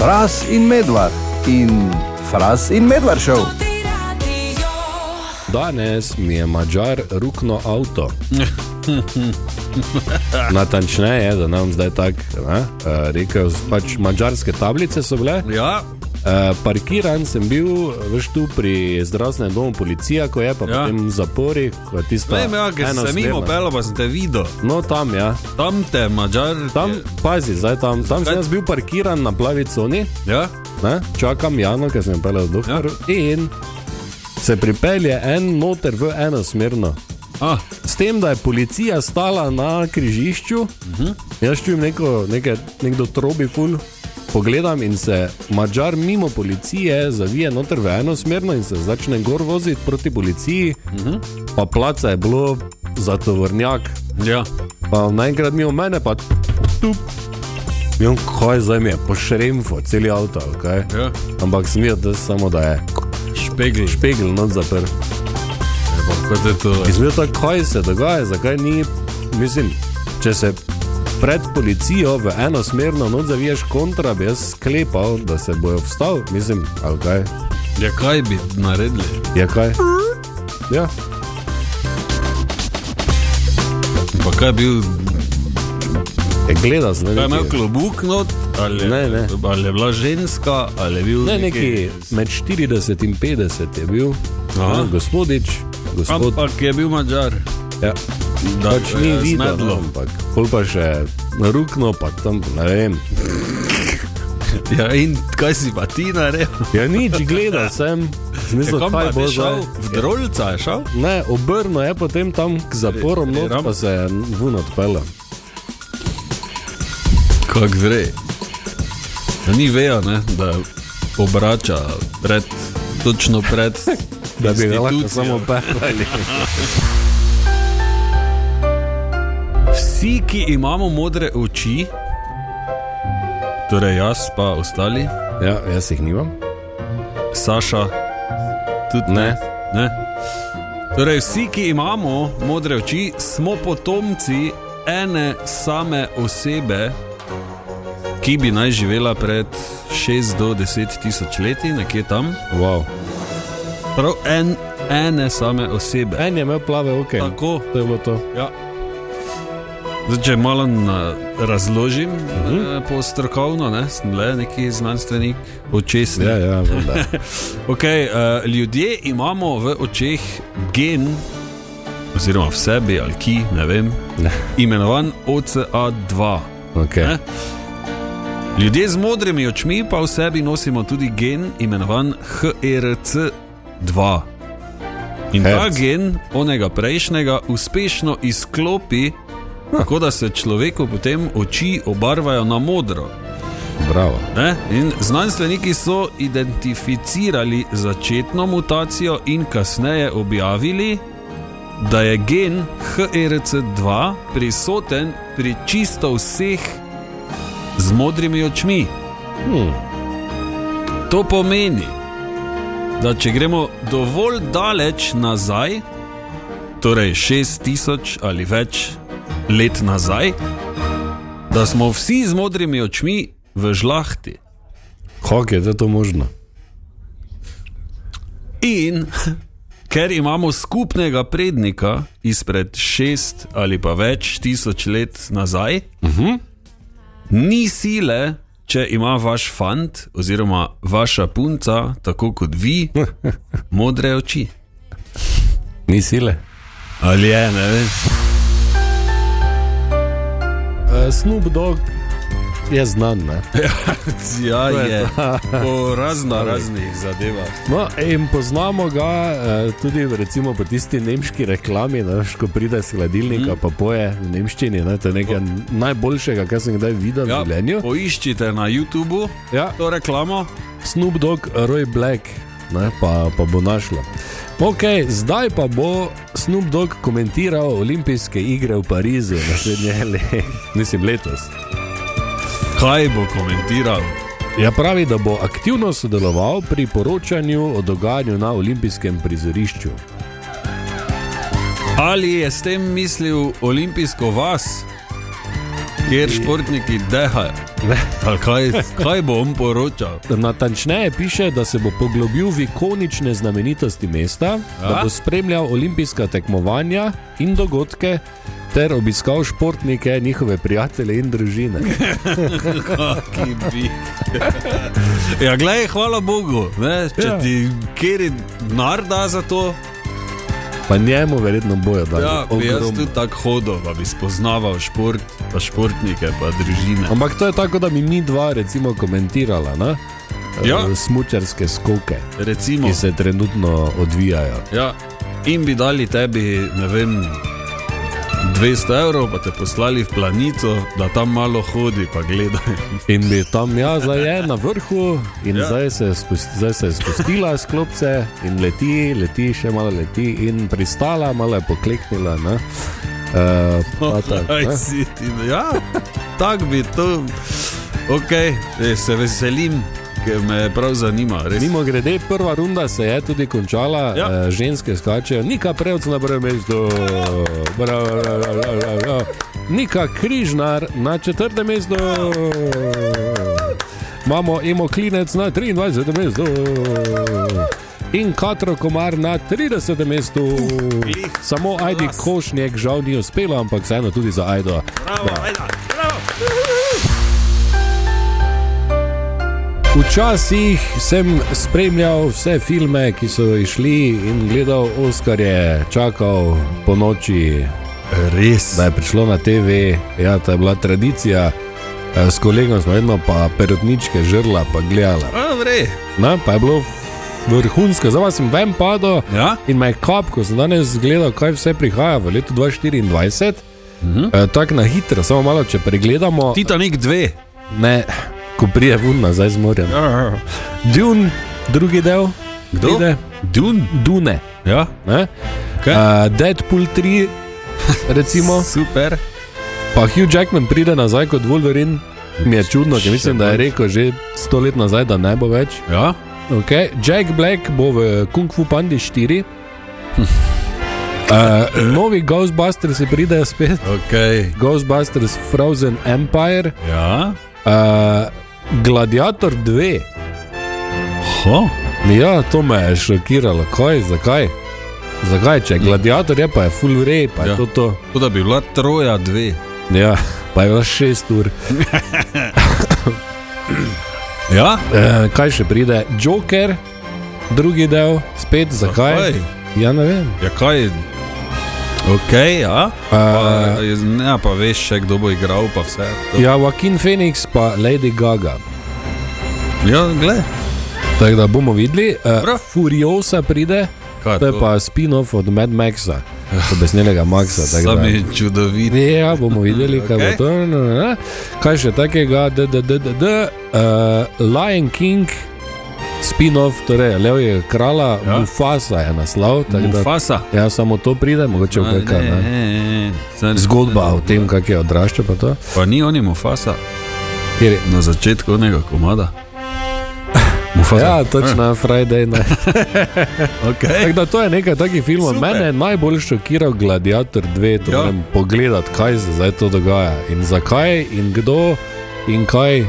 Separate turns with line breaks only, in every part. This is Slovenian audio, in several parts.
Fras in medvard in fras in medvard šel.
Danes mi je mačar rukno avto. Natančneje, da nam zdaj tako uh, rekel, pač mačarske tablice so bile.
Ja,
Uh, parkiran sem bil, veš, tu pri zdravstvenem domu policija, ko je pa ja.
Ja.
potem v zapori, ko je tisto
vem, ja, ker sem mimo
enosmerna.
pel, pa sem te videl.
No, tam, ja.
Tam te, mačar.
Tam, pazi, zdaj tam, tam sem
Kaj?
jaz bil parkiran na plavi coni,
Ja,
ne? čakam Jano, ker sem pel z doktor. Ja. In se pripelje en noter v enosmerno.
ah,
S tem, da je policija stala na križišču, uh -huh. jaz čujem neko, neke, nekdo trobi ful. Pogledam in se mačar mimo policije zavije noter v eno smerno in se začne gor voziti proti policiji. Uh -huh. Pa placa je bilo za tovornjak,
ja.
pa naenkrat mimo mene pa tu. Jem, kaj zdaj mi je, pošremfo, celi avto, ali kaj.
Ja.
Ampak smijo, da samo da je
Špegl.
pegel not zaprt.
Kot je to.
Izmed tega, kaj se dogaja, zakaj ni, mislim, če se pred policijo v eno smerno noč zaviješ kontra, bi jaz sklepal, da se bojo vstal, mislim, ali kaj,
Ja, kaj bi naredili?
je kaj. Ja,
Pa kaj bi bil,
je gledal sem.
kaj je
neki-
imel klobuk not, ali,
Ne, ne.
ali je bila ženska, ali je bil
Ne,
neki-
neki med 40 in 50 je bil,
Aha.
ja, gospodič, gospod.
Ampak je bil mačar.
Ja.
Da,
pač ni
eh,
vidno,
zmedlo.
no, ampak pol pa še na rukno, pa tam, ne vem.
Ja, in kaj si pa ti naredil?
Ja, nič, gledal sem,
Ja,
smisel,
kam
kaj
pa
bo
bi
zdaj.
šel? V drolca je šel?
Ne, obrno je potem tam k zaporom,
Re-
no
ram.
pa se je vun odpeljal.
Kak gre. Da ni vejo, ne, da obrača pred, točno pred.
Da bi ga lahko
institucijo.
samo peljali.
Vsi, ki imamo modre oči, torej jaz pa ostali,
Ja, jaz jih nimam.
Saša, tudi
Ne.
ne. Torej, vsi, ki imamo modre oči, smo potomci ene same osebe, ki bi naj živela pred 6 do 10 tisoč leti, nekje tam.
Wow.
Prav en, ene same osebe.
En je imel plave oči.
Tako.
To je bilo to.
Ja. Zdaj, če malo na, razložim, uh
Mhm.
-huh. eh, po strokovno, ne, sem le neki znanstvenik, očesni.
Ja, ja, vem, da.
Okay, uh, ljudje imamo v očeh gen, oziroma v sebi ali ki, ne vem,
Ne.
imenovan OCA2.
Okay.
Ne? Ljudje z modrimi očmi pa v sebi nosimo tudi gen, imenovan E HRC2. In ta
Herc.
gen, onega prejšnjega, uspešno izklopi, tako da se človeku potem oči obarvajo na modro.
Bravo.
Ne? In znanstveniki so identificirali začetno mutacijo in kasneje objavili, da je gen E HRC2 prisoten pri čisto vseh z modrimi očmi.
Hm.
To pomeni, da če gremo dovolj daleč nazaj, torej 6000 ali več let nazaj, da smo vsi z modrimi očmi v žlahti.
Kako je zdaj to možno?
In ker imamo skupnega prednika izpred šest ali pa več tisoč let nazaj, uh -huh. ni sile, če ima vaš fant oziroma vaša punca, tako kot vi, modre oči.
Ni sile.
Ali je, ne vem.
Uh, Snoop Dogg je znan, ne?
Ja, je. Po razno raznih zadevah.
No, in poznamo ga eh, tudi recimo po tisti nemški reklami, ne, veš, ko pride s hladilnika, mm.
Mhm.
pa poje v nemščini. Ne, to je nekaj najboljšega, kar sem kdaj videl ja. v
Ja,
življenju.
poiščite na YouTubu
Ja,
to reklamo.
Snoop Dogg, Roy Black, ne, pa, pa bo našla. Ok, zdaj pa bo Snoop Dogg komentiral olimpijske igre v Parizu naslednje leto, mislim letos.
Kaj bo komentiral?
Ja, pravi, da bo aktivno sodeloval pri poročanju o dogajanju na olimpijskem prizorišču.
Ali je s tem mislil olimpijsko vas? kjer športniki dehajo. Ali Kaj, kaj bom poročal?
Natančneje piše, da se bo poglobil v ikonične znamenitosti mesta,
Ja.
da bo spremljal olimpijska tekmovanja in dogodke ter obiskal športnike, njihove prijatelje in družine.
Kaki bi. Ja, glej, hvala Bogu, ne? če
Ja.
ja. ti kjer denar da za to,
Pa njemu verjetno bojo dali.
ja, bi jaz
ogromno.
tudi tako hodil, da bi spoznaval šport, pa športnike, pa družine.
Ampak to je tako, da bi mi dva recimo komentirala na
Ja. No.
smučarske skoke,
Recimo,
ki se trenutno odvijajo.
ja, in bi dali tebi, ne vem. 200 evrov pa te poslali v planico, da tam malo hodi, pa gledaj.
In bi tam, ja, zdaj je na vrhu, in ja.
Ja.
zdaj, se je spust, zdaj se je spustila s klopce in leti, leti, še malo leti, in pristala, malo je pokleknila. Uh, pa tak,
Aj,
ne.
si ti, ja, tako bi to. Ok, se veselim, ker me prav zanima. Res.
Mimo grede, prva runda se je tudi končala,
Ja.
ja. uh, ženske skačejo, nika prevc na prvem mestu, Bravo, bravo, bravo, bravo, bravo. nika križnar na četrtem mestu. Imamo emo klinec na 23. mestu. In Katro Komar na 30. mestu. Samo Ajdi Košnjek žal ni uspelo, ampak vseeno tudi za Ajdo.
Bravo, ajda, bravo.
Včasih sem spremljal vse filme, ki so išli in gledal Oscarje, čakal po noči,
Res.
da je prišlo na TV, ja, to je bila tradicija. Eh, S kolegom smo vedno pa perotničke žrla, pa gledala.
A, vre.
Na, pa je bilo vrhunsko, zdaj pa sem ven padel
Ja?
in me je kap, ko sem danes gledal, kaj vse prihaja v letu 2024. Mhm. E, Tako na hitro, samo malo, če pregledamo.
Titanik 2.
Ne, ko prije vun nazaj z morja. Dune, drugi del,
Kdo?
pride.
Dun.
Dune,
Ja,
ne?
Kaj?
Uh, Deadpool 3, recimo,
super.
pa Hugh Jackman pride nazaj kot Wolverine. Mi je čudno, ker mislim, da je rekel že sto let nazaj, da ne bo več.
Ja,
Okay. Jack Black bo v Kung Fu Pandi 4. Uh, novi Ghostbusters pride spet,
ok.
Ghostbusters Frozen Empire,
Ja,
uh, Gladiator 2.
ho.
Ja, to me je šokiralo, kaj, zakaj? Zakaj, če je gladiator je pa je full rej, pa je ja.
Ja.
to to.
To da bi bila troja 2.
Ja, pa je bilo šest ur.
Ja,
E, kaj še pride? Joker, drugi del, spet zakaj? Ja, ne vem.
Ja, kaj? Ok, ja. Pa,
E,
ne, pa veš še, kdo bo igral, pa vse. To.
ja, Joaquin Phoenix pa Lady Gaga.
Ja, gled.
Tako da bomo videli. E,
Dobro.
Furiosa pride,
Kaj
to Ah. je pa spin-off od Mad Maxa, obesnelega Maxa. tako da-
Sam je čudovit.
Ja, bomo videli, kaj okay.
Okej.
bo to. No, no, no. Kaj še takega, da je DDD, uh, Lion King, spin-off, torej Levje krala, ja.
Ja.
Mufasa je naslov. tako da-
Mufasa.
Ja, samo to pride, mogoče
A,
v kaj.
ne,
ne.
ne, ne. Saj-
Zgodba o tem, kako je odraščal, pa to.
Pa ni on je Mufasa.
Kjer, je-
Na začetku onega komada. Mufasa.
ja, točno, Friday. night.
Okay.
Tako da to je nekaj takih filmov.
Super.
Mene je najbolj šokiral Gladiator 2, to
Ja.
moram pogledati, kaj se zdaj to dogaja in zakaj in kdo in kaj,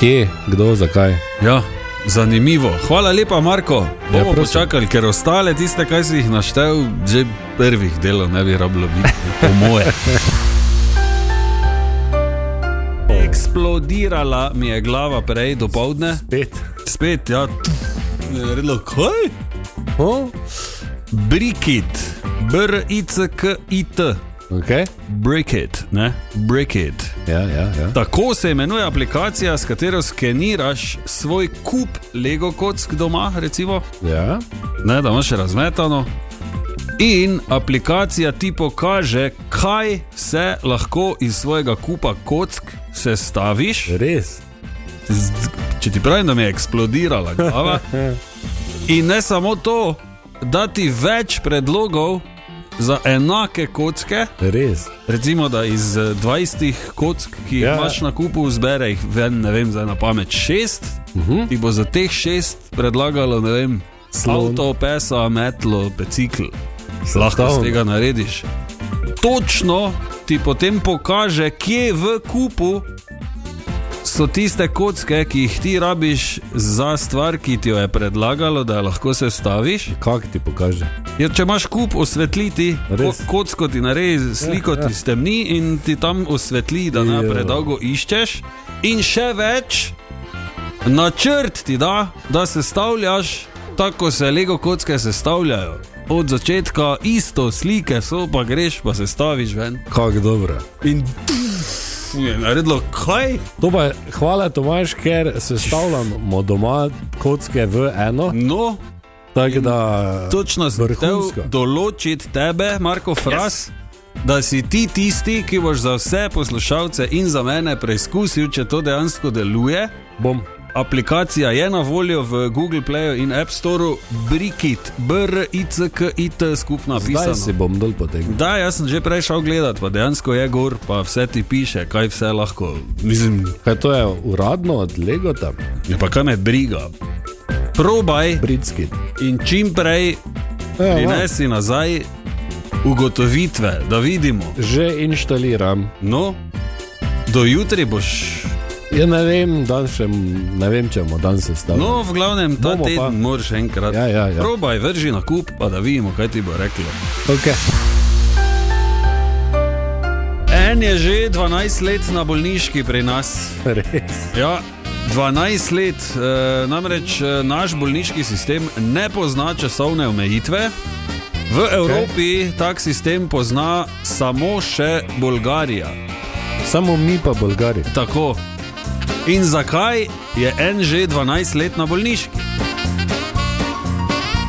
kje, kdo, zakaj.
Ja, zanimivo. Hvala lepa, Marko.
Ja,
Bomo ja,
prosim.
počakali, ker ostale tiste, kaj si jih naštel, že prvih delov ne bi rabilo biti, po moje. Eksplodirala mi je glava prej do povdne,
Pet.
spet ja. Redlo, kaj?
Oh?
Brikit, B-R-I-C-K-I-T,
Okay.
Brikit, ne? Brikit.
Ja, ja, ja.
Tako se imenuje aplikacija, s katero skeniraš svoj kup Lego kock doma, recimo,
ja.
ne, da imaš razmetano. In aplikacija ti pokaže, kaj vse lahko iz svojega kupa kock sestaviš.
Res.
Z- Če ti pravim, da mi je eksplodirala glava. In ne samo to, da ti več predlogov za enake kocke.
Res.
Recimo, da iz eh, 20 kock, ki jih
Ja.
ja. imaš na kupu, zbere jih ven, ne vem, zdaj na pamet 6. Uh -huh. Ti bo za teh 6 predlagalo, ne vem,
Slon.
Slon. avto, pesa, metlo, bicikl. Lahko
Stavno.
z tega narediš. Točno ti potem pokaže, kje v kupu so tiste kocke, ki jih ti rabiš za stvar, ki ti jo je predlagalo, da jo lahko sestaviš.
Kaj ti pokaže?
Jer Ja, če imaš kup osvetliti, ko,
Res.
kocko ti naredi, sliko ti stemni in ti tam osvetli, da ne
Ja.
predolgo iščeš. In še več, načrt ti da, da sestavljaš tako se lego kocke sestavljajo. Od začetka isto slike so, pa greš, pa sestaviš ven.
Kako dobro.
In tu je naredilo kaj?
To pa je, hvala Tomaš, ker sestavljamo doma kocke v eno.
No,
Tako da,
Točno sem hotel
Vrhunsko.
določiti tebe, Marko Fras, yes. da si ti tisti, ki boš za vse poslušalce in za mene preizkusil, če to dejansko deluje.
bom.
Aplikacija je na voljo v Google Playu in App Storeu, Brikit, BRICKIT, skupna
Zdaj si
pisana.
bom dol potegnil.
Da, jaz sem že prej šel gledat, pa dejansko je gor, pa vse ti piše, kaj vse lahko. Mislim,
Kaj to je uradno od Legota,
ja pa kaj me briga. Probaj
britski.
in čim prej
Ja, ja.
prinesi nazaj ugotovitve, da vidimo.
Že inštaliram.
No, do jutri boš,
Ja, ne vem, dan še, m- ne vem če bomo dan sestavili.
no, v glavnem ta
Bomo pa.
teden moraš enkrat.
Ja, ja, ja.
Probaj, vrži na kup, pa da vidimo, kaj ti bo reklo.
Okay.
En je že 12 let na bolniški pri nas.
Res.
Ja, 12 let, eh, namreč eh, naš bolniški sistem ne pozna časovne omejitve. V Evropi okay. tak sistem pozna samo še Bolgarija.
Samo mi pa Bolgari.
Tako. In zakaj je en že 12 let na bolniški?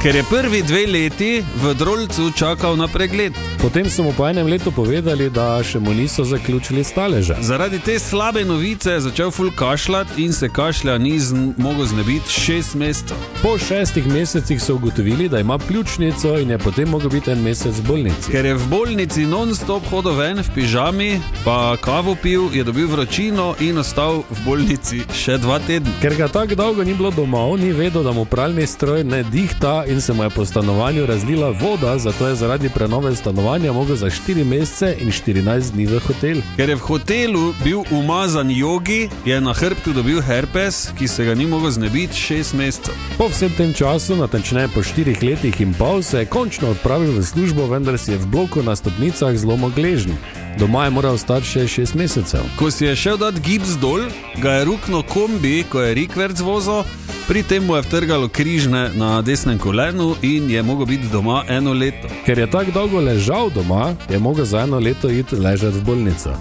Ker je prvi dve leti v Drolcu čakal na pregled.
Potem so mu po enem letu povedali, da še mu niso zaključili staleža.
Zaradi te slabe novice je začel ful kašljati in se kašlja ni zn- mogel znebiti šest mesecev.
Po šestih mesecih so ugotovili, da ima pljučnico in je potem mogel biti en mesec v bolnici.
Ker je v bolnici non-stop hodil ven v pižami, pa kavo pil, je dobil vročino in ostal v bolnici še dva tedna.
Ker ga tako dolgo ni bilo domov, ni vedel, da mu pralni stroj ne dihta in se mu je po stanovanju razlila voda, zato je zaradi prenove stanovanja mogel za 4 mesece in 14 dni v hotel.
Ker je v hotelu bil umazan jogi, je na hrbtu dobil herpes, ki se ga ni mogel znebiti šest mesecev.
Po vsem tem času, natančneje po 4 letih in pol, se je končno odpravil v službo, vendar si je v bloku na stopnicah zlomil gležen. Doma je moral ostati še 6 mesecev.
Ko si je šel dat gips dol, ga je rukno kombi, ko je rikverc vozil, pri tem mu je vtrgalo križne na desnem kolenu in je mogel biti doma eno leto.
Ker je tako dolgo ležal doma, je mogel za eno leto iti ležati v bolnico.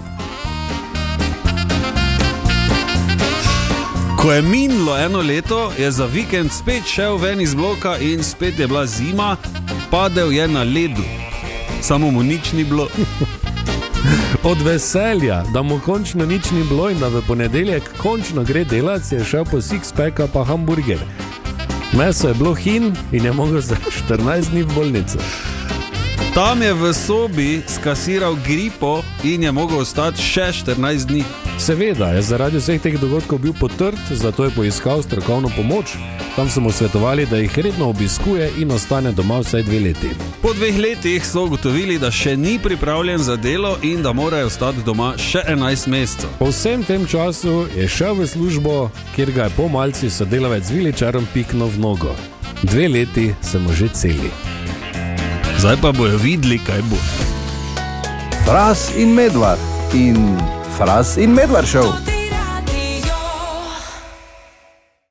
Ko je minilo eno leto, je za vikend spet šel ven iz bloka in spet je bila zima, padel je na ledu. Samo mu nič ni bilo.
Od veselja, da mu končno nič ni bilo in da v ponedeljek končno gre delati, si je šel po six-packa pa hamburger. Meso je bilo hin in je mogel za 14 dni v bolnico.
Tam je v sobi skasiral gripo in je mogel ostati še 14 dni.
Seveda je zaradi vseh teh dogodkov bil potrt, zato je poiskal strokovno pomoč. Tam so mu svetovali, da jih redno obiskuje in ostane doma vsaj dve leti.
Po dveh letih so ugotovili, da še ni pripravljen za delo in da morajo ostati doma še 11 mesecev.
Po vsem tem času je šel v službo, kjer ga je po malci sodelavec z viličarom piknil v nogo. Dve leti se mu že celi.
Zdaj pa bojo videli, kaj bo.
Fras in Medvard in Fras in Medvard šel.